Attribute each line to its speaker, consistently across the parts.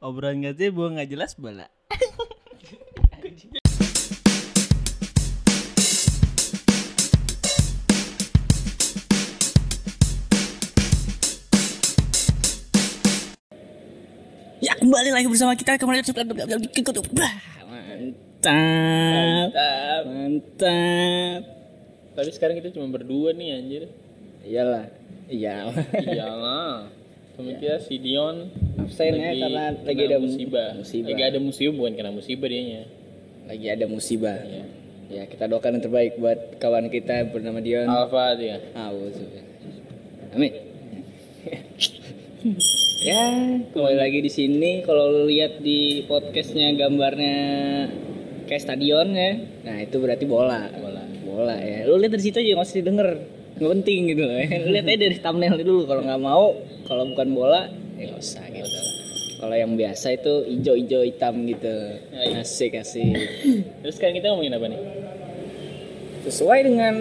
Speaker 1: Obrolan nggak sih, buang nggak jelas bala.
Speaker 2: Ya kembali lagi bersama kita kemarin mantap
Speaker 3: Mantap.
Speaker 2: mantap
Speaker 3: Tapi sekarang kita cuma berdua nih anjir.
Speaker 2: iyalah iya
Speaker 3: Iyalah. Sama kita si Dion
Speaker 2: absen ya karena lagi
Speaker 3: kena
Speaker 2: ada
Speaker 3: musibah.
Speaker 2: musibah.
Speaker 3: Lagi ada musibah bukan kena musibah dianya.
Speaker 2: lagi ada musibah
Speaker 3: Iya.
Speaker 2: ya kita doakan yang terbaik buat kawan kita yang bernama Dion
Speaker 3: Alfa dia.
Speaker 2: Ah, Auzubillah. ya. amin ya kembali lagi di sini kalau lu lihat di podcastnya gambarnya kayak stadion ya nah itu berarti bola
Speaker 3: Bola.
Speaker 2: bola ya lu lihat dari situ aja nggak usah didengar nggak penting gitu loh ya. Lu lihat aja dari thumbnail dulu kalau nggak mau kalau bukan bola ya nggak usah gitu kalau yang biasa itu ijo-ijo hitam gitu
Speaker 3: iya.
Speaker 2: asik asik
Speaker 3: Terus sekarang kita ngomongin apa nih?
Speaker 2: sesuai dengan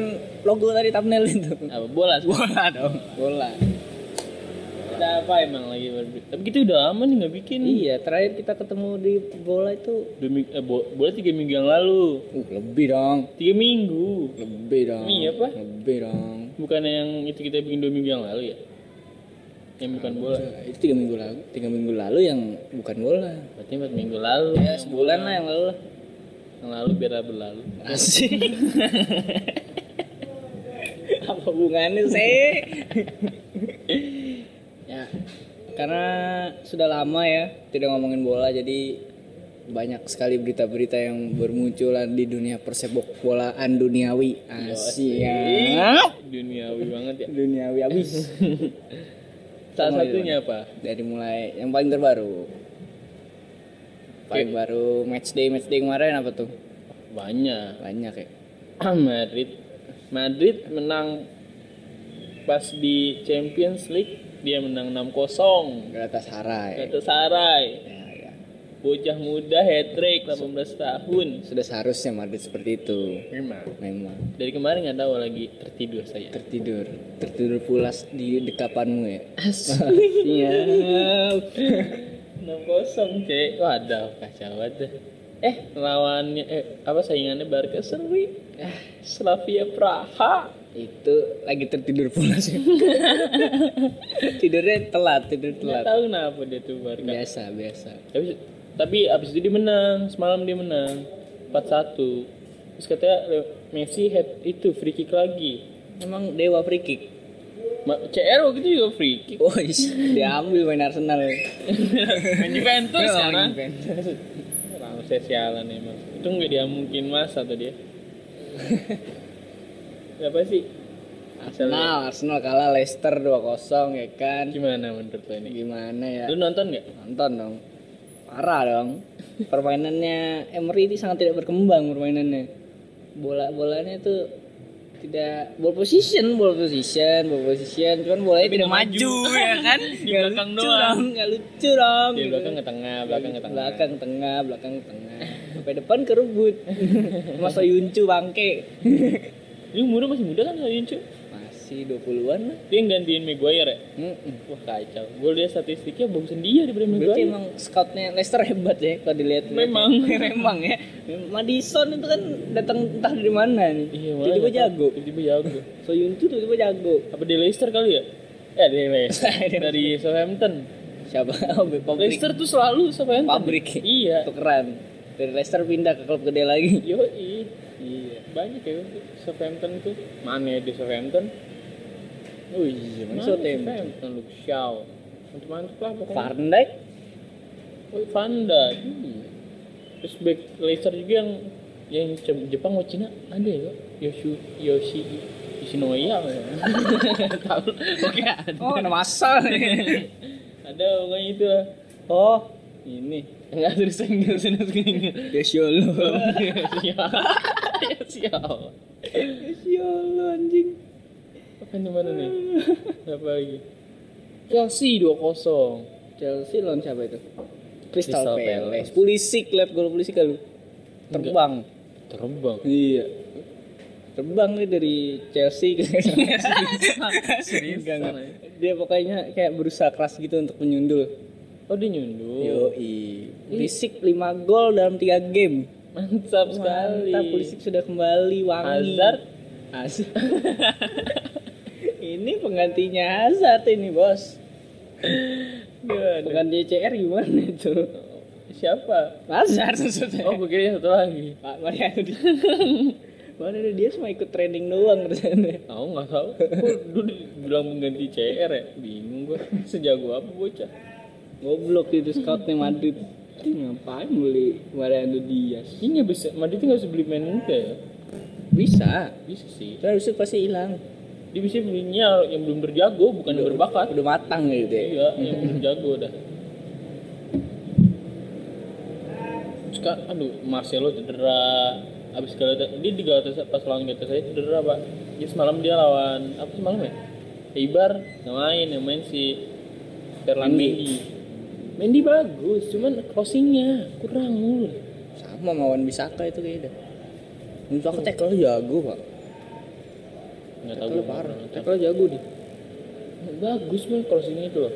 Speaker 2: logo tadi thumbnail itu
Speaker 3: Apa bola?
Speaker 2: bola dong bola
Speaker 3: Kita apa emang lagi berdua? Tapi kita udah lama nih nggak bikin.
Speaker 2: iya terakhir kita ketemu di bola itu
Speaker 3: Dua ming- eh, bo- bola tiga minggu yang lalu.
Speaker 2: uh, lebih dong
Speaker 3: Tiga minggu.
Speaker 2: lebih dong
Speaker 3: Iya, apa?
Speaker 2: lebih dong
Speaker 3: Bukan yang itu kita bikin dua minggu yang lalu ya? Yang bukan bola.
Speaker 2: itu tiga minggu lalu tiga minggu lalu yang bukan bola
Speaker 3: Berarti empat minggu lalu.
Speaker 2: ya sebulan lah yang lalu lah
Speaker 3: Yang lalu biar berlalu.
Speaker 2: Asik. Apa hubungannya sih? ya, karena sudah lama ya tidak ngomongin bola jadi banyak sekali berita-berita yang bermunculan di dunia persepak bolaan duniawi. Asia.
Speaker 3: Duniawi banget ya.
Speaker 2: Duniawi abis.
Speaker 3: Salah
Speaker 2: Ngomongin
Speaker 3: satunya apa?
Speaker 2: Dari mulai yang paling terbaru. Paling baru match day match day kemarin apa tuh?
Speaker 3: Banyak.
Speaker 2: Banyak ya.
Speaker 3: Madrid Madrid menang pas di Champions League dia menang 6-0
Speaker 2: Galatasaray.
Speaker 3: Galatasaray
Speaker 2: Ya, ya.
Speaker 3: bocah muda hat trick 18 tahun
Speaker 2: Sudah seharusnya Madrid seperti itu.
Speaker 3: memang
Speaker 2: Memang
Speaker 3: dari kemarin nggak tahu lagi tertidur saya
Speaker 2: tertidur, tertidur pulas di dekapanmu ya. Iya.
Speaker 3: 6-0 cek waduh kacau banget dah. eh lawannya eh apa saingannya Barca seri ah, Slavia Praha
Speaker 2: itu lagi tertidur pulas. ya. Tidurnya telat, tidur
Speaker 3: nggak
Speaker 2: telat.
Speaker 3: tahu kenapa dia tuh Barca
Speaker 2: Biasa, biasa.
Speaker 3: tapi tapi abis itu dia menang semalam dia menang 4-1 terus katanya Le- Messi head itu free kick lagi
Speaker 2: Emang dewa free kick.
Speaker 3: Ma- CR waktu itu juga free kick
Speaker 2: Woi, diambil main Arsenal. ya.
Speaker 3: main Juventus
Speaker 2: Memang
Speaker 3: kan
Speaker 2: Juventus.
Speaker 3: langsung saya sialan emang itu nggak dia mungkin masa tuh dia apa sih
Speaker 2: Arsenal, Nah, Arsenal kalah Leicester 2-0 ya kan.
Speaker 3: gimana menurut lo ini
Speaker 2: Gimana ya?
Speaker 3: lu nonton nggak
Speaker 2: Nonton dong. Parah dong. Permainannya Emery ini sangat tidak berkembang permainannya. Bola-bolanya tuh tidak ball position, ball position, ball position, cuman bolanya tidak maju, ya kan?
Speaker 3: Di
Speaker 2: Nggak
Speaker 3: belakang
Speaker 2: lucu
Speaker 3: doang.
Speaker 2: dong, nggak lucu dong.
Speaker 3: di
Speaker 2: gitu.
Speaker 3: belakang ke tengah belakang ke tengah
Speaker 2: belakang tengah, belakang tengah. Sampai depan kerebut. Masa Yuncu bangke.
Speaker 3: lu umurnya masih muda kan Soyun cu
Speaker 2: Masih 20-an lah.
Speaker 3: dia yang gantiin Maguire ya
Speaker 2: Mm-mm.
Speaker 3: wah kacau gue lihat statistiknya bagusan dia daripada
Speaker 2: Berarti
Speaker 3: Maguire
Speaker 2: emang scoutnya Leicester hebat ya kalau dilihat.
Speaker 3: Memang.
Speaker 2: memang ya. Madison itu kan datang entah dari mana nih.
Speaker 3: Iya, malah
Speaker 2: tiba-tiba
Speaker 3: nggak tahu.
Speaker 2: jago.
Speaker 3: Tiba-tiba jago.
Speaker 2: Soyun tuh tiba-tiba jago.
Speaker 3: Apa di Leicester kali ya? Eh, di Leicester. Dari Southampton.
Speaker 2: Siapa? Oh, pabrik.
Speaker 3: Leicester tuh selalu Southampton.
Speaker 2: Pabrik.
Speaker 3: Iya.
Speaker 2: Tukeran. Dari Leicester pindah ke klub gede lagi.
Speaker 3: Yo, iya. Banyak ya untuk Southampton tuh. Mana di Southampton?
Speaker 2: Oh iya,
Speaker 3: Mana
Speaker 2: Southampton.
Speaker 3: Southampton Luke Shaw. Mantap-mantap lah pokoknya.
Speaker 2: Van Dijk.
Speaker 3: Oh, Van Dijk. Iya. Terus back Leicester juga yang yang Jep- Jepang atau Cina ada ya? Yoshi Yoshi Yoshinoya. apa ya? Tahu. Oke, ada.
Speaker 2: Oh, ada masa.
Speaker 3: Ada pokoknya itu lah.
Speaker 2: oh,
Speaker 3: ini enggak terus single single single
Speaker 2: Yosiolo.
Speaker 3: siapa Iya, siapa
Speaker 2: Yosiolo anjing.
Speaker 3: apa yang mana nih apa lagi Chelsea dua kosong
Speaker 2: Chelsea lawan siapa itu?
Speaker 3: Crystal
Speaker 2: Crystal
Speaker 3: Palace.
Speaker 2: Palace. Pulisic lihat gol Pulisic kali. Terbang.
Speaker 3: terbang
Speaker 2: Iya. Terbang nih dari Chelsea ke Enggak, enggak. Dia pokoknya kayak berusaha keras gitu untuk menyundul.
Speaker 3: Oh dia nyundul.
Speaker 2: Yoi. Pulisic 5 gol dalam 3 game.
Speaker 3: Mantap sekali.
Speaker 2: Mantap, Pulisic sudah kembali wangi.
Speaker 3: Hazard.
Speaker 2: Hazard. ini penggantinya Hazard ini, Bos.
Speaker 3: Aduh, aduh.
Speaker 2: Pengganti CR gimana itu?
Speaker 3: Siapa?
Speaker 2: Hazard maksudnya.
Speaker 3: Oh gue kira satu lagi.
Speaker 2: Pak Mariano di Mariano dia cuma ikut training doang kerjanya.
Speaker 3: Tahu nggak tahu? Gue dulu bilang mengganti CR ya. Bingung gue. Sejago apa bocah?
Speaker 2: Goblok itu scoutnya Madrid. Ini ngapain beli Mariano Diaz?
Speaker 3: Ini nggak bisa. Madrid nggak bisa beli main muda ya?
Speaker 2: Bisa.
Speaker 3: Bisa sih.
Speaker 2: Terus itu pasti hilang.
Speaker 3: Dia bisa belinya yang belum berjago, bukan yang berbakat.
Speaker 2: Udah matang gitu ya.
Speaker 3: Iya, yang belum jago dah. Suka, aduh, Marcelo cedera. Abis Galata, dia di Galatasaray, pas lawan Galatasaray cedera, Pak. Jadi semalam dia lawan, apa semalam ya? Eibar, yang main, yang main si Ferland Mendy. Mendy bagus, cuman crossingnya kurang mulu.
Speaker 2: Sama sama Wan Bisaka itu kayaknya. Bisaka tackle jago, Pak.
Speaker 3: Nggak tahu
Speaker 2: Tackle
Speaker 3: gua
Speaker 2: parah.
Speaker 3: nggak tahu.
Speaker 2: Tackle jago dia.
Speaker 3: Bagus banget crossingnya itu loh.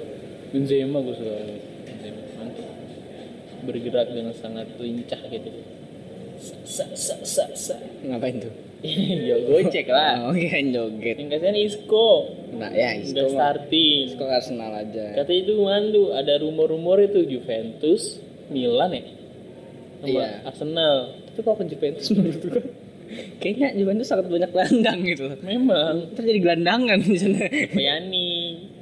Speaker 3: Benzema gue suka. Benzema, mantap. Bergerak dengan sangat lincah gitu. Sa, sa, sa, sa.
Speaker 2: Ngapain tuh?
Speaker 3: ya gocek lah.
Speaker 2: Oh, kirain joget.
Speaker 3: Yang kasihan Isco.
Speaker 2: Nah, ya
Speaker 3: Udah
Speaker 2: Isco. mah.
Speaker 3: starting.
Speaker 2: Isco Arsenal aja.
Speaker 3: Kata itu mandu. Ada rumor-rumor itu Juventus, Milan ya. Sama
Speaker 2: Iya.
Speaker 3: Arsenal.
Speaker 2: Tapi kalau ke Juventus menurut gua kayaknya Juventus sangat banyak gelandang gitu.
Speaker 3: Memang.
Speaker 2: Terus jadi gelandangan di sana.
Speaker 3: Bayani.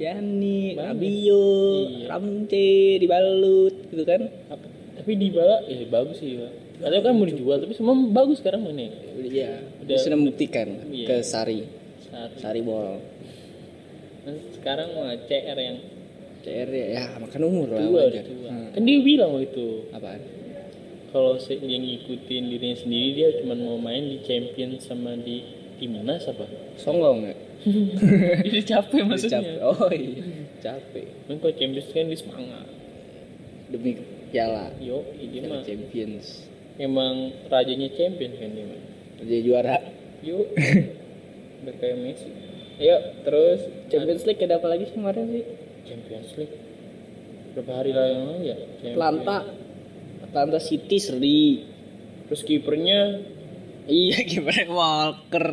Speaker 2: Yani,
Speaker 3: Banyak.
Speaker 2: Rabio,
Speaker 3: Iya.
Speaker 2: Ramte, dibalut gitu kan.
Speaker 3: Apa? Tapi di bala, ya bagus sih. Pak. Katanya kan mau dijual, tapi semua bagus sekarang mainnya.
Speaker 2: Iya,
Speaker 3: Udah-
Speaker 2: sudah membuktikan
Speaker 3: Iya.
Speaker 2: ke Sari.
Speaker 3: Saat
Speaker 2: Sari Ball.
Speaker 3: Nah, sekarang mah CR yang
Speaker 2: CR ya, ya makan umur lah
Speaker 3: tua,
Speaker 2: wajar.
Speaker 3: tua.
Speaker 2: Hmm.
Speaker 3: kan dia bilang waktu itu
Speaker 2: Apaan?
Speaker 3: kalau se- dia ngikutin dirinya sendiri dia cuma mau main di champion sama di timnas apa
Speaker 2: Songgong ya?
Speaker 3: dia capek
Speaker 2: Capek.
Speaker 3: maksudnya
Speaker 2: Oh iya, capek.
Speaker 3: main kalau champions kan dia semangat
Speaker 2: Demi piala
Speaker 3: yo dia
Speaker 2: Piala
Speaker 3: mah
Speaker 2: Champions.
Speaker 3: emang rajanya champion kan dia mah
Speaker 2: Jadi juara.
Speaker 3: yo udah kayak Messi ayo terus
Speaker 2: Champions League ada apa lagi sih kemarin sih?
Speaker 3: Champions League berapa hari lah yang lalu ya Champions.
Speaker 2: Atlanta. Atlanta City seri.
Speaker 3: terus kipernya
Speaker 2: Iya, gimana Walker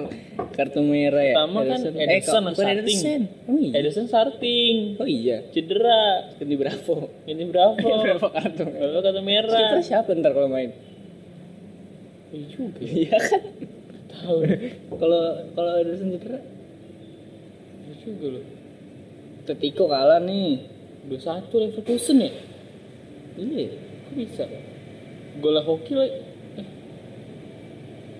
Speaker 2: kartu merah ya?
Speaker 3: Pertama kan
Speaker 2: Eh,
Speaker 3: Ederson
Speaker 2: kok- bukan
Speaker 3: starting.
Speaker 2: Ederson. Oh iya.
Speaker 3: Edison starting
Speaker 2: Oh iya.
Speaker 3: cedera
Speaker 2: Ganti Bravo.
Speaker 3: ini berapa
Speaker 2: Berapa kartu? merah?
Speaker 3: Kalau kata merah.
Speaker 2: Kiper siapa ntar kalau main?
Speaker 3: Iya juga. ya.
Speaker 2: Iya kan?
Speaker 3: Tahu.
Speaker 2: Kalau kalau Ederson cedera,
Speaker 3: Iya juga loh.
Speaker 2: Atletico kalah nih.
Speaker 3: Dua satu Leverkusen ya.
Speaker 2: Iya.
Speaker 3: Kok bisa? Gola hoki lah. Eh.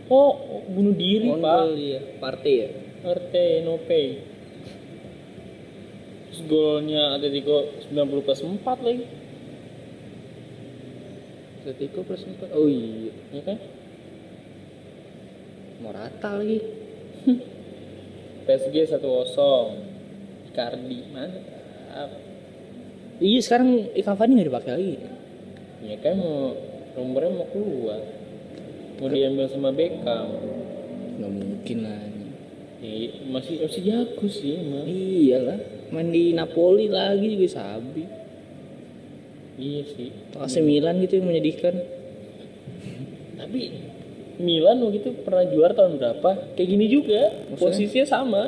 Speaker 3: Oh, oh, bunuh diri
Speaker 2: Mongolia, Partey ya.
Speaker 3: pak. Arte Nope. Terus golnya Atletico 90 plus 4 lagi.
Speaker 2: Atletico plus 4. Oh iya.
Speaker 3: Ya kan?
Speaker 2: Morata lagi.
Speaker 3: PSG 1-0. Icardi mantap.
Speaker 2: Iya sekarang Cavani nggak dipakai lagi.
Speaker 3: Ya kan mau rumornya mau keluar. Mau diambil sama Beckham.
Speaker 2: Nggak mungkin lah.
Speaker 3: Ya, masih masih jago sih emang.
Speaker 2: Iyalah. Main di Napoli lagi juga sabi.
Speaker 3: Iya sih.
Speaker 2: Atau AC Milan gitu yang menyedihkan.
Speaker 3: Tapi Milan waktu itu pernah juara tahun berapa? Kayak gini juga.
Speaker 2: Maksudnya?
Speaker 3: Posisinya sama.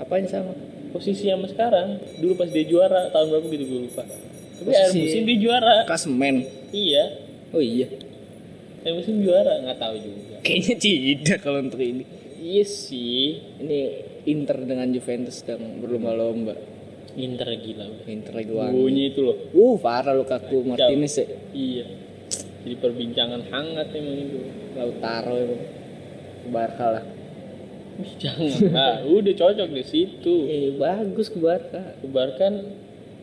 Speaker 2: Apaan sama?
Speaker 3: Posisi sama sekarang. Dulu pas dia juara tahun berapa gitu gue lupa. Tapi
Speaker 2: Posisi-
Speaker 3: air musim dia juara.
Speaker 2: Klasemen.
Speaker 3: Iya.
Speaker 2: Oh iya.
Speaker 3: Air musim juara nggak tahu juga.
Speaker 2: Kayaknya tidak kalau untuk ini.
Speaker 3: Iya sih.
Speaker 2: Ini Inter dengan Juventus sedang berlomba-lomba.
Speaker 3: Inter gila udah.
Speaker 2: Inter lagi wangi.
Speaker 3: Bunyi itu loh.
Speaker 2: Uh, parah Lukaku Martinez ya.
Speaker 3: Iya. Jadi perbincangan hangat emang itu.
Speaker 2: Lautaro emang. Ke Barca lah.
Speaker 3: Jangan. Ah, udah cocok di situ.
Speaker 2: Eh, bagus ke Barca.
Speaker 3: Kebarkan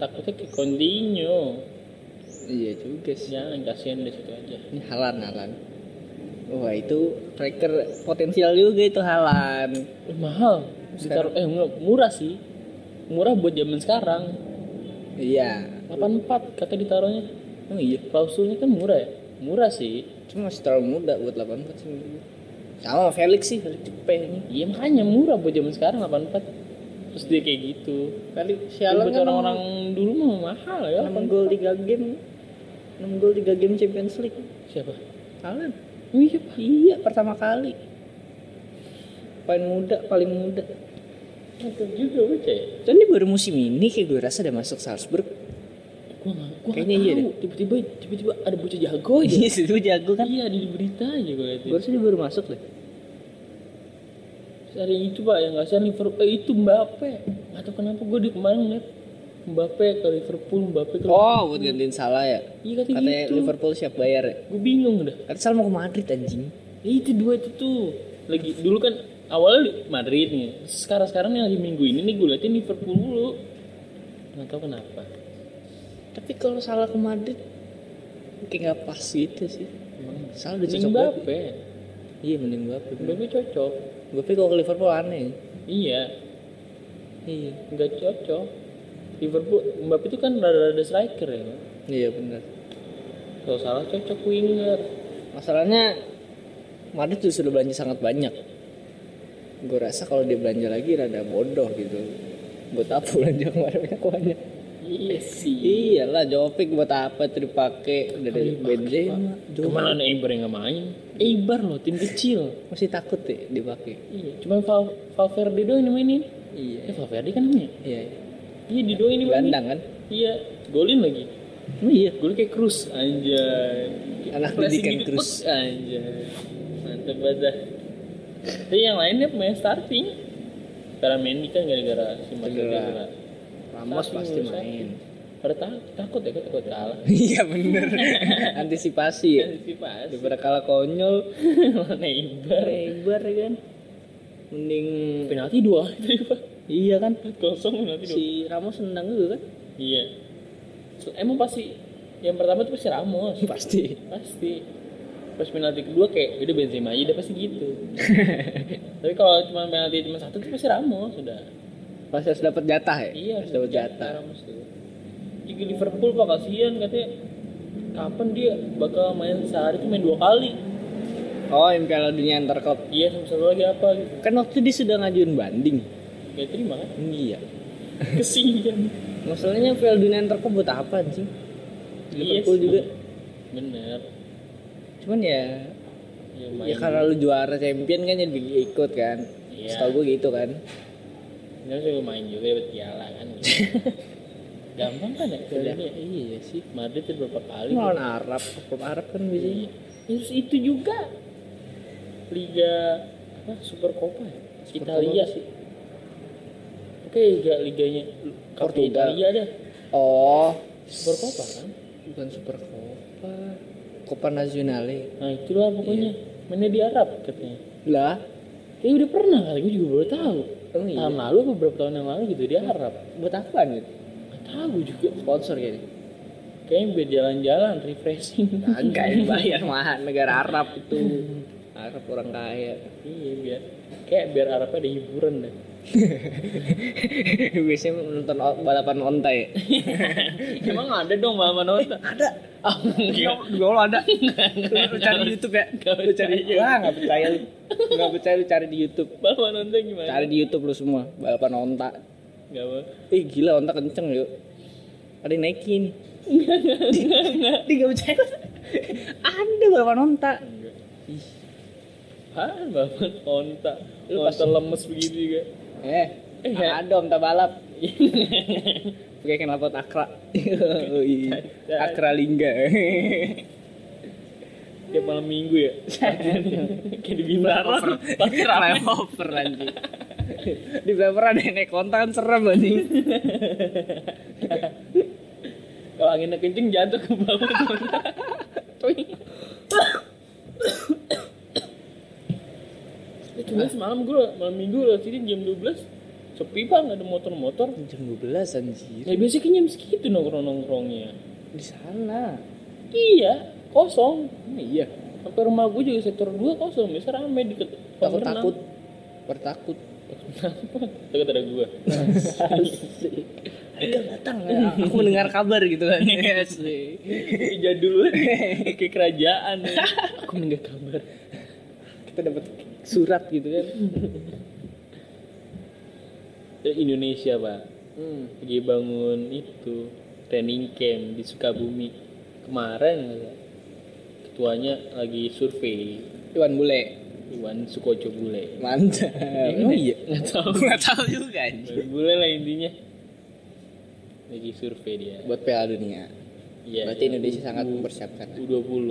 Speaker 3: takutnya ke Coutinho.
Speaker 2: Iya juga sih.
Speaker 3: Jangan kasihan di situ aja.
Speaker 2: Ini Halan, Halan. Wah, itu striker potensial juga itu Halan.
Speaker 3: Eh, mahal sekitar eh enggak, murah sih murah buat zaman sekarang
Speaker 2: Iya.
Speaker 3: 84 kata ditaruhnya
Speaker 2: Oh iya.
Speaker 3: klausulnya kan murah ya murah sih
Speaker 2: Cuma masih terlalu muda buat 84 sih. menurut gue. Sama Felix sih, Felix Cepe ini.
Speaker 3: iya makanya murah buat zaman sekarang 84 terus dia kayak gitu
Speaker 2: Kali
Speaker 3: Kalau
Speaker 2: sialan
Speaker 3: buat
Speaker 2: kan
Speaker 3: orang-orang dulu mah mahal ya
Speaker 2: 6 gol 3 game 6 gol 3 game Champions League
Speaker 3: siapa
Speaker 2: Haaland
Speaker 3: iya Pak.
Speaker 2: Iya, pertama kali. Paling muda, paling muda.
Speaker 3: Mantap juga baca ya
Speaker 2: Dan Kan dia baru musim ini kayak gue rasa dia masuk Salzburg.
Speaker 3: gua nggak gua nggak
Speaker 2: Kayaknya iya
Speaker 3: tahu.
Speaker 2: deh.
Speaker 3: tiba-tiba tiba-tiba ada bocah jago aja
Speaker 2: Iya, itu jago kan.
Speaker 3: iya ada di berita aja gua liatin
Speaker 2: Gue rasa dia baru masuk deh.
Speaker 3: Terus Hari itu pak yang nggak salah Liverpool eh, itu Mbappe atau kenapa gua di kemarin ngeliat Mbappe ke Liverpool Mbappe ke
Speaker 2: Oh, buat gantiin salah ya.
Speaker 3: iya katanya,
Speaker 2: Katanya
Speaker 3: gitu
Speaker 2: Liverpool siap bayar ya.
Speaker 3: gua bingung dah
Speaker 2: Katanya salah mau ke Madrid anjing.
Speaker 3: Ya, itu dua itu tuh lagi dulu kan awalnya di Madrid nih sekarang sekarang yang lagi minggu ini nih gue liatin Liverpool dulu nggak tahu kenapa
Speaker 2: Tapi kalau salah ke Madrid kayak nggak pas gitu sih.
Speaker 3: emang
Speaker 2: Salah udah
Speaker 3: mending
Speaker 2: cocok banget.
Speaker 3: Mbappe
Speaker 2: Iya, mending Mbappe.
Speaker 3: Mbappe cocok
Speaker 2: Mbappe kalau ke Liverpool aneh.
Speaker 3: iya
Speaker 2: Iya.
Speaker 3: nggak cocok Liverpool Mbappe itu kan rada-rada striker ya
Speaker 2: Iya, benar.
Speaker 3: kalau salah cocok winger
Speaker 2: Masalahnya Madrid tuh sudah belanja sangat banyak. Gue rasa kalau dia belanja lagi rada bodoh gitu. Buat apa belanja kemarin banyak banyak?
Speaker 3: iya sih
Speaker 2: Iyalah, Jopik buat apa tuh dipakai udah dari Benzema. Jopik.
Speaker 3: Kemana Eibar yang nggak main? Eibar loh tim kecil.
Speaker 2: Masih takut ya dipakai.
Speaker 3: Iya, cuma Val Valverde doang yang mainin.
Speaker 2: Iya.
Speaker 3: Eh Valverde kan namanya.
Speaker 2: Iya.
Speaker 3: Iya, di doang ini mainin.
Speaker 2: Gelandang kan?
Speaker 3: Iya, golin lagi.
Speaker 2: Oh, iya.
Speaker 3: Golin kayak Cruz anjay.
Speaker 2: Anak
Speaker 3: Flashing
Speaker 2: didikan
Speaker 3: gitu,
Speaker 2: Cruz.
Speaker 3: pek, anjay. Mantap banget. dah. Tapi yang lainnya pemain starting. Karena Mendy kan gara-gara si Marcelo
Speaker 2: Cedera.
Speaker 3: cedera.
Speaker 2: Ramos pasti main.
Speaker 3: Pada ta- takut ya, kan takut kalah.
Speaker 2: Iya bener. Antisipasi. ya.
Speaker 3: Antisipasi.
Speaker 2: Daripada kalah konyol.
Speaker 3: Mana Eibar?
Speaker 2: Lebar kan? Mending.
Speaker 3: Penalti dua.
Speaker 2: Iya kan?
Speaker 3: Kosong penalti dua.
Speaker 2: Si Ramos nendang juga kan?
Speaker 3: Iya. So, emang pasti yang pertama tuh pasti Ramos,
Speaker 2: Pasti.
Speaker 3: pasti. Pas penalti kedua kayak udah Benzema aja udah pasti gitu. Tapi kalau cuma penalti cuma satu tuh pasti Ramos sudah.
Speaker 2: Pasti harus dapat jatah ya?
Speaker 3: Iya,
Speaker 2: harus dapat jatah.
Speaker 3: Ramos tuh. Jadi Liverpool pak kasihan katanya kapan dia bakal main sehari tuh main dua kali.
Speaker 2: Oh, yang Piala Dunia antar klub.
Speaker 3: Iya sama satu lagi apa gitu.
Speaker 2: Kan waktu dia sudah ngajuin banding.
Speaker 3: Gak terima kan?
Speaker 2: Iya.
Speaker 3: Kesian.
Speaker 2: Masalahnya Piala Dunia antar klub buat apa sih?
Speaker 3: Iya
Speaker 2: Liverpool juga.
Speaker 3: Bener.
Speaker 2: Cuman ya
Speaker 3: Ya,
Speaker 2: ya karena lu juara champion kan jadi ikut kan.
Speaker 3: Iya.
Speaker 2: Setahu gue gitu kan.
Speaker 3: Dia juga main juga dapat piala kan. gitu. Gampang kan ya
Speaker 2: Udah.
Speaker 3: pialanya?
Speaker 2: Iya sih.
Speaker 3: Madrid tuh berapa
Speaker 2: Ini
Speaker 3: kali?
Speaker 2: lawan Arab, klub Arab kan biasanya.
Speaker 3: Iya. Terus itu juga Liga apa Super Copa ya?
Speaker 2: Super
Speaker 3: Italia
Speaker 2: Copa
Speaker 3: sih. Oke, liga liganya Cup
Speaker 2: Portugal.
Speaker 3: Italia dah.
Speaker 2: Oh,
Speaker 3: Super Copa kan.
Speaker 2: bukan Super Copa. Copa Nazionale.
Speaker 3: Nah, itulah pokoknya.
Speaker 2: Iya.
Speaker 3: Mainnya di Arab katanya.
Speaker 2: Lah,
Speaker 3: Kayak udah pernah kali gue juga baru tahu.
Speaker 2: emang iya.
Speaker 3: Tahun lalu apa beberapa tahun yang lalu gitu di Arab.
Speaker 2: Buat apaan gitu?
Speaker 3: Gak tahu juga.
Speaker 2: Sponsor gitu.
Speaker 3: Kayaknya biar jalan-jalan refreshing.
Speaker 2: Kagak yang bayar mahal negara Arab itu. Arab orang kaya.
Speaker 3: Iya biar kayak biar Arabnya ada hiburan deh.
Speaker 2: Biasanya nonton o- balapan onta ya.
Speaker 3: Emang ada dong Mama Nota?
Speaker 2: Ada.
Speaker 3: Ah, enggak.
Speaker 2: Dua Allah Iya, ada. Lu cari di YouTube ya. Lu cari. Wah, enggak percaya lu. Enggak percaya lu cari di YouTube.
Speaker 3: Mama Nota gimana?
Speaker 2: Cari di YouTube lu semua balapan onta.
Speaker 3: Enggak apa.
Speaker 2: Ih, gila onta kenceng yuk. Ada yang naikin. Enggak, enggak, percaya. Ada balapan onta.
Speaker 3: Enggak. Hah, Mama Nota.
Speaker 2: Lu
Speaker 3: Nota lemes begitu juga.
Speaker 2: Eh, ada onta balap. Pakai kenal pot akra. Ui, akra lingga.
Speaker 3: Tiap malam minggu ya. kayak di Bintaro.
Speaker 2: Pakai flyover anjing. Di flyover ada yang naik konta kan serem anjing.
Speaker 3: Kalau anginnya kenceng jatuh ke bawah tuh. Cuy. Eh, cuma semalam gue malam minggu lewat sini jam 12 sepi banget ada motor-motor
Speaker 2: Jam 12 anjir.
Speaker 3: Ya biasanya kayaknya jam segitu nongkrong-nongkrongnya
Speaker 2: Di sana.
Speaker 3: Iya, kosong
Speaker 2: Oh, iya.
Speaker 3: Sampai rumah gue juga sektor 2 kosong Biasa rame di ket- kolam renang.
Speaker 2: Takut-takut. Bertakut.
Speaker 3: Takut ada gue
Speaker 2: Ayo datang. Aku mendengar kabar gitu kan. Yes.
Speaker 3: Kayak Jadul Kayak kerajaan ya. Aku mendengar kabar
Speaker 2: Kita dapat surat gitu kan.
Speaker 3: Dari Eh, Indonesia pak
Speaker 2: Hmm.
Speaker 3: lagi bangun itu training camp di Sukabumi kemarin ya. ketuanya lagi survei
Speaker 2: Iwan bule.
Speaker 3: Iwan Sukoco Bule
Speaker 2: Mantap.
Speaker 3: Emang iya? nggak tahu
Speaker 2: Enggak Oh tahu juga anjing.
Speaker 3: Iwan Bule lah intinya lagi survei dia
Speaker 2: Buat Piala Dunia.
Speaker 3: Iya,
Speaker 2: Berarti
Speaker 3: iya.
Speaker 2: Indonesia sangat
Speaker 3: U-
Speaker 2: mempersiapkan.
Speaker 3: U20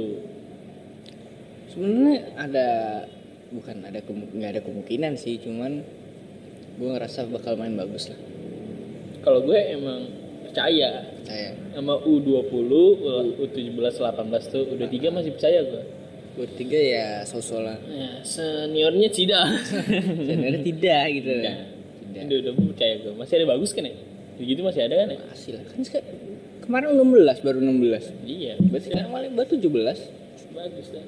Speaker 2: Sebenarnya ada bukan ada kemu- nggak ada kemungkinan sih, cuman gue ngerasa bakal main bagus lah.
Speaker 3: kalau gue emang percaya
Speaker 2: Percaya.
Speaker 3: sama U20, U17, 18 tuh udah tiga masih percaya gue.
Speaker 2: Gue tiga ya sosol lah.
Speaker 3: Ya, seniornya tidak.
Speaker 2: Sebenarnya tidak gitu.
Speaker 3: Tidak.
Speaker 2: Tidak.
Speaker 3: Udah, udah percaya gue. Masih ada bagus kan ya? Begitu masih ada kan ya?
Speaker 2: Masih lah. Kan seka- kemarin 16 baru 16.
Speaker 3: Iya.
Speaker 2: Berarti
Speaker 3: masih ada.
Speaker 2: sekarang paling baru 17.
Speaker 3: bagus dah.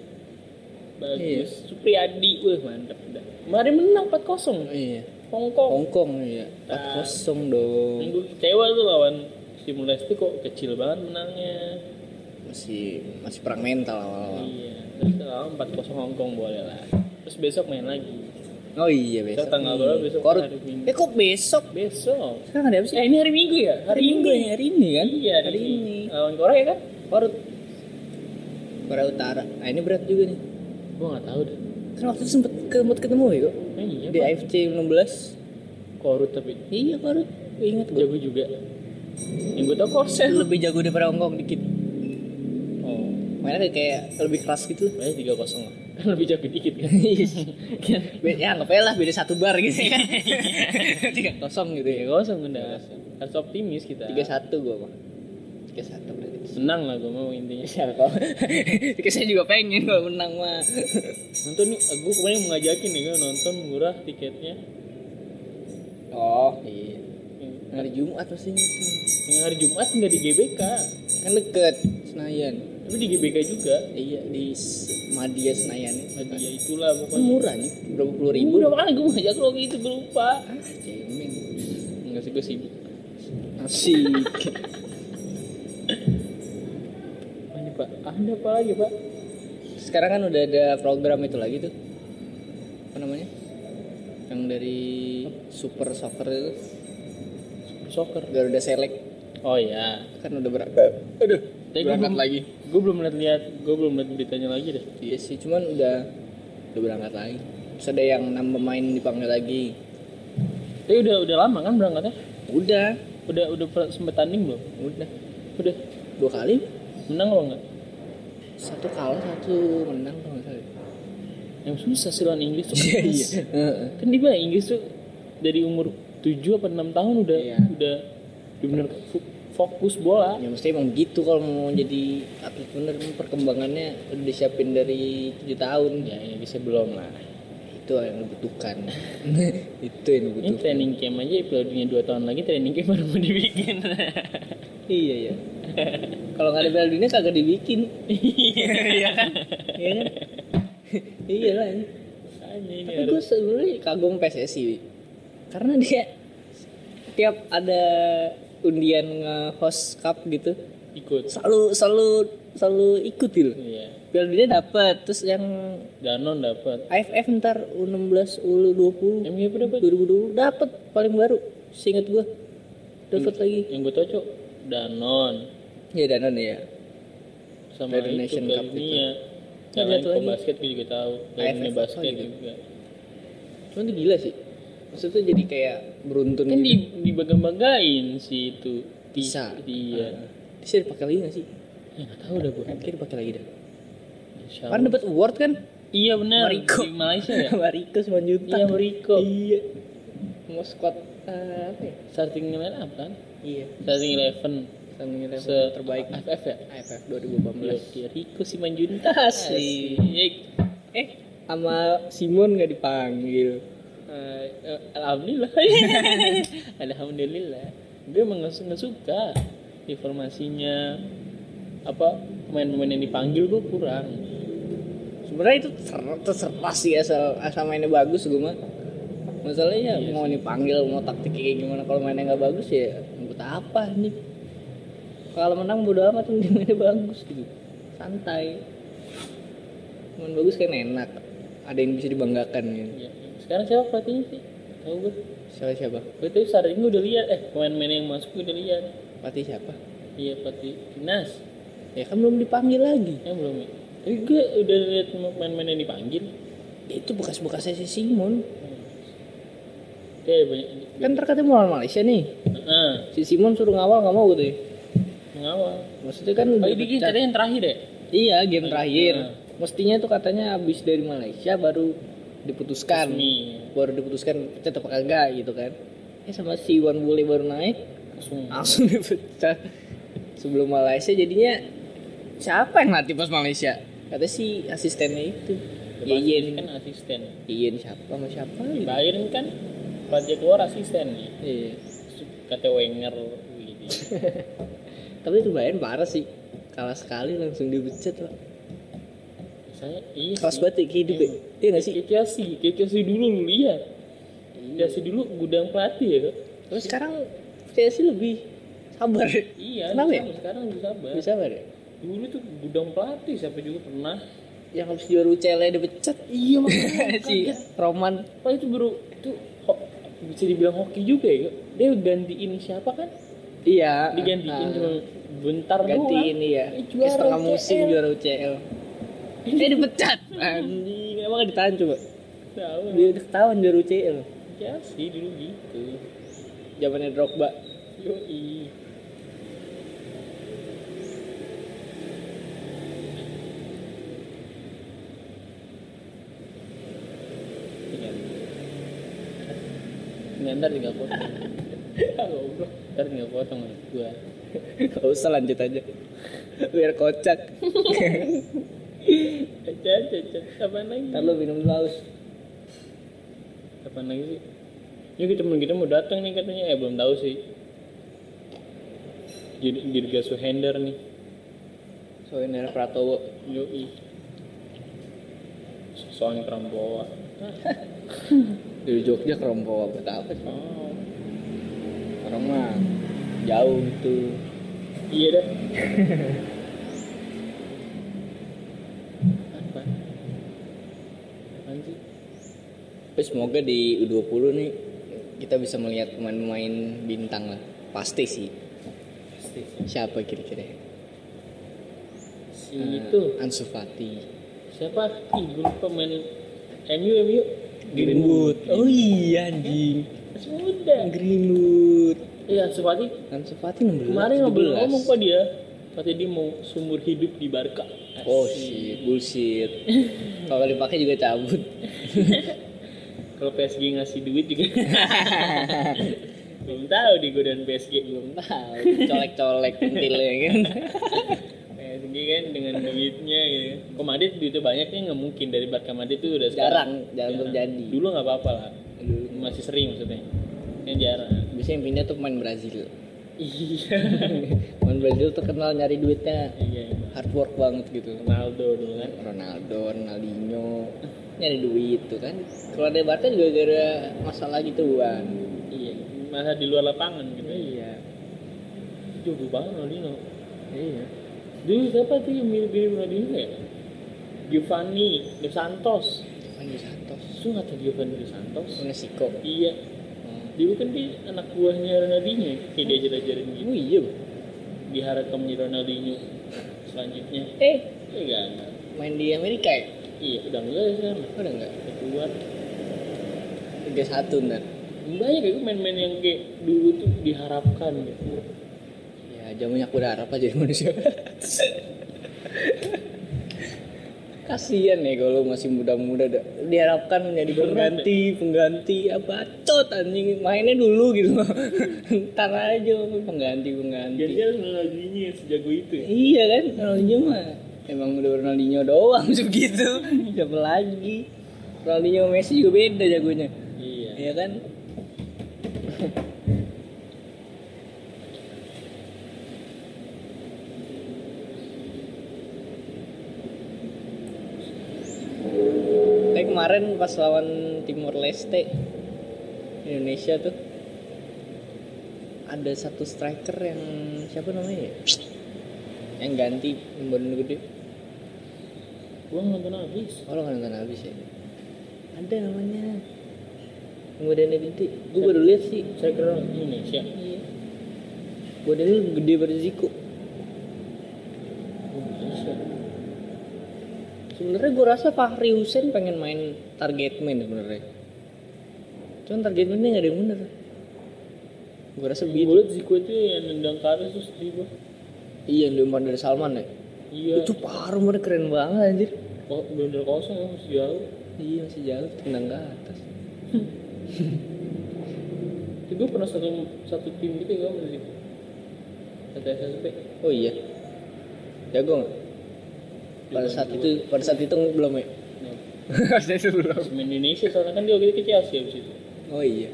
Speaker 3: Bagus. Supriyadi, wah mantap dah. Kemarin menang 4-0
Speaker 2: iya.
Speaker 3: Hongkong.
Speaker 2: Hong Kong iya.
Speaker 3: Ah.
Speaker 2: 4-0 dong.
Speaker 3: Yang gue kecewa tuh lawan Stimulas tuh kok kecil banget menangnya.
Speaker 2: Masih masih perang mental awal-awal.
Speaker 3: Iya. Terus lawan 4-0 Hongkong boleh lah. Terus besok main lagi.
Speaker 2: Oh iya besok.
Speaker 3: tanggal
Speaker 2: nih.
Speaker 3: berapa besok?
Speaker 2: Korut.
Speaker 3: Hari Minggu.
Speaker 2: Eh kok besok?
Speaker 3: Besok.
Speaker 2: Sekarang ada apa sih?
Speaker 3: Ya ini hari Minggu ya? Hari, Minggu.
Speaker 2: ya, hari ini kan?
Speaker 3: Iya,
Speaker 2: hari ini.
Speaker 3: Lawan Korea kan?
Speaker 2: Korut. Korea Utara. Ah ini berat juga nih.
Speaker 3: Gua nggak tahu deh.
Speaker 2: Kan waktu itu sempet ketemu ketemu ya kok.
Speaker 3: Eh, iya,
Speaker 2: Di
Speaker 3: Pak.
Speaker 2: AFC 16.
Speaker 3: Korut tapi
Speaker 2: Iya Korut. Ingat gue.
Speaker 3: jago juga. Yang gue tau Korsel.
Speaker 2: Lebih jago daripada Hong Kong dikit.
Speaker 3: Oh,
Speaker 2: Mainnya kayak lebih keras gitu.
Speaker 3: kayaknya tiga kosong lah. Kan lebih jago dikit kan.
Speaker 2: Iya. Be- ya anggap aja lah beda satu bar gitu ya tiga kosong gitu ya
Speaker 3: Tiga kosong udah. Harus optimis kita.
Speaker 2: tiga satu gue mah tiga satu berarti
Speaker 3: Menang lah gue mau intinya.
Speaker 2: siapa tiga saya juga pengen kalau menang mah
Speaker 3: Nonton nih, gue kemarin mau ngajakin nih gue nonton murah tiketnya.
Speaker 2: oh iya
Speaker 3: Yang-
Speaker 2: hari Jumat pastinya tuh.
Speaker 3: Yang hari Jumat nggak di GBK,
Speaker 2: kan deket Senayan
Speaker 3: tapi di GBK juga.
Speaker 2: iya di S- Madia Senayan
Speaker 3: Hadiah itulah
Speaker 2: kan
Speaker 3: pokoknya.
Speaker 2: murah nih berapa puluh ribu Ah,
Speaker 3: Udah mana gue mau ngajak lo gitu gue lupa.
Speaker 2: Cemen.
Speaker 3: Enggak sih gue sibuk.
Speaker 2: asik
Speaker 3: Ini pak, Ah, ada apa lagi pak?
Speaker 2: sekarang kan udah ada program itu lagi tuh apa namanya yang dari Super Soccer itu
Speaker 3: Soccer.
Speaker 2: Garuda Select
Speaker 3: Oh iya.
Speaker 2: kan udah berangkat aduh
Speaker 3: Tapi gue belum lagi. Gue belum lihat lihat. Gue belum lihat beritanya lagi deh.
Speaker 2: iya sih cuman udah udah berangkat lagi terus ada yang enam pemain dipanggil lagi
Speaker 3: Tapi udah udah lama kan berangkatnya?
Speaker 2: udah
Speaker 3: Udah udah per- sempet tanding belum?
Speaker 2: udah
Speaker 3: Udah
Speaker 2: dua kali
Speaker 3: menang apa enggak?
Speaker 2: satu kalah satu menang kalau nggak salah
Speaker 3: Yang susah sih lawan Inggris tuh.
Speaker 2: iya iya Heeh.
Speaker 3: Kan dia bilang Inggris tuh dari umur 7 apa 6 tahun udah
Speaker 2: Iya.
Speaker 3: udah benar fokus bola.
Speaker 2: ya mesti emang gitu kalau mau jadi atlet bener emang perkembangannya udah disiapin dari tujuh tahun
Speaker 3: Ya Inggrisnya belum lah.
Speaker 2: itu yang dibutuhkan itu yang
Speaker 3: Ini
Speaker 2: dibutuhkan
Speaker 3: training camp aja periodenya 2 tahun lagi training camp baru mau dibikin.
Speaker 2: iya iya kalau nggak ada Piala Dunia kagak dibikin iya kan iya kan iya lah ya.
Speaker 3: Anjing, ini
Speaker 2: tapi
Speaker 3: harus-
Speaker 2: gue sebenarnya kagum PSSI Wi. karena dia tiap ada undian nge-host cup gitu
Speaker 3: ikut.
Speaker 2: selalu selalu selalu ikut gitu
Speaker 3: Iya.
Speaker 2: Piala Dunia dapat terus yang
Speaker 3: Danon dapat.
Speaker 2: AFF ntar U16 U20
Speaker 3: MGP dapat.
Speaker 2: 2020 dapat paling baru seinget gue dapat lagi
Speaker 3: Yang gue tau cok Danon
Speaker 2: ya danan ya
Speaker 3: sama
Speaker 2: Dari
Speaker 3: itu
Speaker 2: Nation Cup
Speaker 3: Galinia.
Speaker 2: Ada
Speaker 3: Yang lain
Speaker 2: satu
Speaker 3: ke
Speaker 2: lagi.
Speaker 3: basket gue juga tahu. Galinia
Speaker 2: AFF
Speaker 3: basket
Speaker 2: apa gitu?
Speaker 3: juga.
Speaker 2: cuman itu gila sih maksudnya jadi kayak beruntun
Speaker 3: Kan di
Speaker 2: gitu
Speaker 3: dibangga-banggain si itu. Ti-
Speaker 2: Tisa.
Speaker 3: Iya.
Speaker 2: Terus dia dipakai lagi gak sih
Speaker 3: Ya nggak tahu dah gue.
Speaker 2: kayaknya dipakai lagi dah
Speaker 3: Insya
Speaker 2: Kemarin
Speaker 3: Allah.
Speaker 2: dapat award kan?
Speaker 3: Iya benar.
Speaker 2: Mariko.
Speaker 3: Di Malaysia ya.
Speaker 2: Mariko 9 juta.
Speaker 3: Iya Mariko.
Speaker 2: Iya. Mau squad eh, apa ya?
Speaker 3: Starting line up kan?
Speaker 2: Iya.
Speaker 3: Starting eleven.
Speaker 2: Sambil
Speaker 3: Se
Speaker 2: terbaik
Speaker 3: AFF ya.
Speaker 2: AFF
Speaker 3: Iya,
Speaker 2: 2018.
Speaker 3: dia Riko si Manjunta
Speaker 2: Iya. Asik.
Speaker 3: Eh,
Speaker 2: Sama Simon gak dipanggil.
Speaker 3: eh, eh, alhamdulillah. alhamdulillah. Dia emang nggak su- nggak suka informasinya apa pemain-pemain yang dipanggil gue kurang.
Speaker 2: Sebenarnya itu ter- terserah sih asal asal mainnya bagus gue mah. Masalahnya ya,
Speaker 3: Iya
Speaker 2: mau dipanggil mau taktik kayak gimana kalau mainnya nggak bagus ya buat apa nih? Kalau menang bodo amat yang mainnya bagus gitu. Santai. Main bagus kan enak. Ada yang bisa dibanggakan gitu.
Speaker 3: Ya, Sekarang Iya. siapa pelatihnya sih? Tahu gue.
Speaker 2: Salah siapa?
Speaker 3: Gue tuh sering gue udah lihat eh pemain-pemain yang masuk gue udah lihat.
Speaker 2: Pati siapa?
Speaker 3: Iya pelatih Nas.
Speaker 2: Ya kan belum dipanggil lagi.
Speaker 3: Ya belum ya. Eh, gue udah lihat pemain-pemain yang dipanggil.
Speaker 2: Ya, itu bekas-bekasnya si Simon.
Speaker 3: Dia ada banyak.
Speaker 2: Kan terkatanya mau lawan Malaysia nih.
Speaker 3: Ah,
Speaker 2: Si Simon suruh ngawal nggak mau gitu ya.
Speaker 3: mengawal.
Speaker 2: Maksudnya kan
Speaker 3: Oh,
Speaker 2: udah
Speaker 3: ini
Speaker 2: pecat.
Speaker 3: ceritanya yang terakhir ya?
Speaker 2: Iya game terakhir.
Speaker 3: Nah.
Speaker 2: Mestinya tuh katanya habis dari Malaysia baru diputuskan.
Speaker 3: Nih,
Speaker 2: Baru diputuskan pecat apa kagak gitu kan. Ya sama si Iwan Bule baru naik
Speaker 3: langsung.
Speaker 2: langsung dipecat. Sebelum Malaysia jadinya siapa yang latih pas Malaysia? Kata si asistennya itu. iya,
Speaker 3: Yeyen
Speaker 2: Yeyen.
Speaker 3: kan asisten.
Speaker 2: Yeyen siapa sama siapa? gitu.
Speaker 3: Bayern kan Project keluar asisten ya.
Speaker 2: Iya.
Speaker 3: Kata Wenger gitu.
Speaker 2: Tapi itu Bayern parah sih. Kalah sekali langsung dipecat pak.
Speaker 3: Saya iya.
Speaker 2: Kelas
Speaker 3: sih.
Speaker 2: batik hidup ya. Iya nggak sih?
Speaker 3: Kayak Chelsea, kayak Chelsea dulu lu lihat.
Speaker 2: Iya.
Speaker 3: Chelsea dulu gudang pelatih ya kok.
Speaker 2: Terus sekarang Chelsea lebih sabar. ya?
Speaker 3: Iya,
Speaker 2: Kenapa
Speaker 3: sama,
Speaker 2: ya?
Speaker 3: sekarang bisa sabar.
Speaker 2: Lebih sabar ya?
Speaker 3: Dulu tuh gudang pelatih siapa juga pernah.
Speaker 2: yang habis juara UCL dia dipecat
Speaker 3: Iya makanya
Speaker 2: si Roman
Speaker 3: Pak itu baru itu ho- bisa dibilang hoki juga ya. Kak. Dia gantiin siapa kan?
Speaker 2: iya
Speaker 3: Digantiin
Speaker 2: Ah,
Speaker 3: cuma bentar
Speaker 2: gantiin
Speaker 3: doang.
Speaker 2: iya Kayak
Speaker 3: Eh, juara
Speaker 2: setengah
Speaker 3: UCL.
Speaker 2: musim juara UCL dia dipecat anjing emang nggak ditahan coba
Speaker 3: Tahu.
Speaker 2: dia udah ketahuan juara UCL
Speaker 3: Chelsea Ya dulu gitu.
Speaker 2: zamannya Drogba
Speaker 3: Yoi. Tiga. Nggak, ntar tinggal potong. Goblok. Ntar tinggal potong nih, gua.
Speaker 2: gak usah lanjut aja biar kocak
Speaker 3: Cacat, cacat. Apaan lagi?
Speaker 2: ntar lu minum dulu haus
Speaker 3: Kapan lagi sih? Ya kita temen kita mau datang nih katanya, eh belum tahu sih. Jadi Dirga Suhender nih.
Speaker 2: soalnya dari Pratowo
Speaker 3: Yoi. Soalnya Pramowa.
Speaker 2: dari Jogja ke Rompong apa apa sih
Speaker 3: Oh.
Speaker 2: orang mah jauh gitu
Speaker 3: Iya dah. Apa? Apaan sih?
Speaker 2: tapi semoga di U20 nih kita bisa melihat pemain-pemain bintang lah pasti sih
Speaker 3: Pasti.
Speaker 2: siapa kira-kira
Speaker 3: Si
Speaker 2: Eh,
Speaker 3: itu
Speaker 2: Ansu Fati
Speaker 3: siapa? Ih, gue lupa main MU MU.
Speaker 2: Greenwood oh iya anjing
Speaker 3: Sudah.
Speaker 2: Greenwood
Speaker 3: Iya, Sufati
Speaker 2: Ansu Fati 16
Speaker 3: Kemarin ngobrol
Speaker 2: 17.
Speaker 3: ngomong kok dia, katanya dia mau sumur hidup di Barca.
Speaker 2: oh shit bullshit kalau dipakai juga cabut
Speaker 3: Kalau PSG ngasih duit juga. belum tahu di godaan PSG belum.
Speaker 2: tahu colek-colek pentilnya kan
Speaker 3: PSG kan dengan duitnya gitu. Kok Madrid duitnya banyak ya nggak mungkin dari Barca Madrid itu udah
Speaker 2: jarang
Speaker 3: sekarang.
Speaker 2: jarang terjadi
Speaker 3: Dulu nggak apa-apa lah.
Speaker 2: Dulu.
Speaker 3: Masih sering maksudnya. Yang jarang.
Speaker 2: biasanya yang pindah tuh pemain Brazil
Speaker 3: Iya.
Speaker 2: pemain Brazil tuh kenal nyari duitnya
Speaker 3: Iya.
Speaker 2: hard work banget gitu
Speaker 3: Ronaldo dulu kan.
Speaker 2: Ronaldo, Ronaldinho nyari duit tuh kan kalau dari Barca juga gara masalah gituan
Speaker 3: Iya. Masa di luar lapangan gitu.
Speaker 2: iya
Speaker 3: Jago banget Ronaldinho.
Speaker 2: iya
Speaker 3: Dulu siapa tuh yang mirip-mirip Ronaldinho ya? Giovanni Dos Santos.
Speaker 2: kan di Santos
Speaker 3: Itu nggak tahu Giovanni Dos Santos.
Speaker 2: Mexico
Speaker 3: Iya.
Speaker 2: Hmm.
Speaker 3: Dulu kan dia anak buahnya Ronaldinho. ya. Kayak dia ajarin gitu.
Speaker 2: oh iya
Speaker 3: Diharapkan menjadi Ronaldinho selanjutnya.
Speaker 2: eh
Speaker 3: Iya kan?
Speaker 2: main di Amerika ya
Speaker 3: Iya, udah enggak ya sekarang.
Speaker 2: udah enggak
Speaker 3: Udah Keluar.
Speaker 2: Liga satu ntar
Speaker 3: Banyak ya gua main-main yang kayak dulu tuh diharapkan gitu.
Speaker 2: ya jamunya aku udah harap aja jadi manusia kasian ya kalau masih muda-muda dah. diharapkan menjadi pengganti pengganti apa tot anjing mainnya dulu gitu ntar aja pengganti pengganti
Speaker 3: Jadi harus Ronaldinho yang sejago itu ya.
Speaker 2: Iya kan, Ronaldinho mah emang udah Ronaldinho doang begitu. Siapa lagi? Ronaldinho sama Messi juga beda jagonya.
Speaker 3: Iya.
Speaker 2: Iya kan? Kayak kemarin pas lawan Timor Leste Indonesia tuh ada satu striker yang siapa namanya ya? Yang ganti yang badannya gede.
Speaker 3: Gua nonton habis.
Speaker 2: Oh lo nggak nonton habis ya? Ada namanya Kemudian nanti gue baru lihat sih.
Speaker 3: Saya kira orang Indonesia.
Speaker 2: Iya. Badannya gede pada Zico.
Speaker 3: Indonesia.
Speaker 2: Sebenarnya gue rasa Fahri Hussein pengen main target man sebenarnya. Cuman target man-nya nggak ada yang bener. Gue rasa
Speaker 3: Gue
Speaker 2: begitu.
Speaker 3: liat Zico itu yang nendang ke atas terus di bawah.
Speaker 2: Iya, yang diumpan dari Salman ya.
Speaker 3: Iya.
Speaker 2: Itu paruh mana keren banget anjir.
Speaker 3: Kok bener kosong ya masih jauh.
Speaker 2: Iya masih jauh tendang ke atas.
Speaker 3: Itu gue pernah satu satu tim gitu ya gue sama Zico. Satu SSP.
Speaker 2: Oh iya. Jago nggak? Pada saat itu pada saat itu belum ya.
Speaker 3: Nah,
Speaker 2: Pada saat itu belum.
Speaker 3: sama Indonesia soalnya kan dia waktu itu ke Chelsea abis itu.
Speaker 2: Oh iya.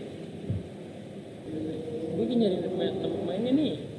Speaker 3: Gue nyari temen- temen mainnya nih.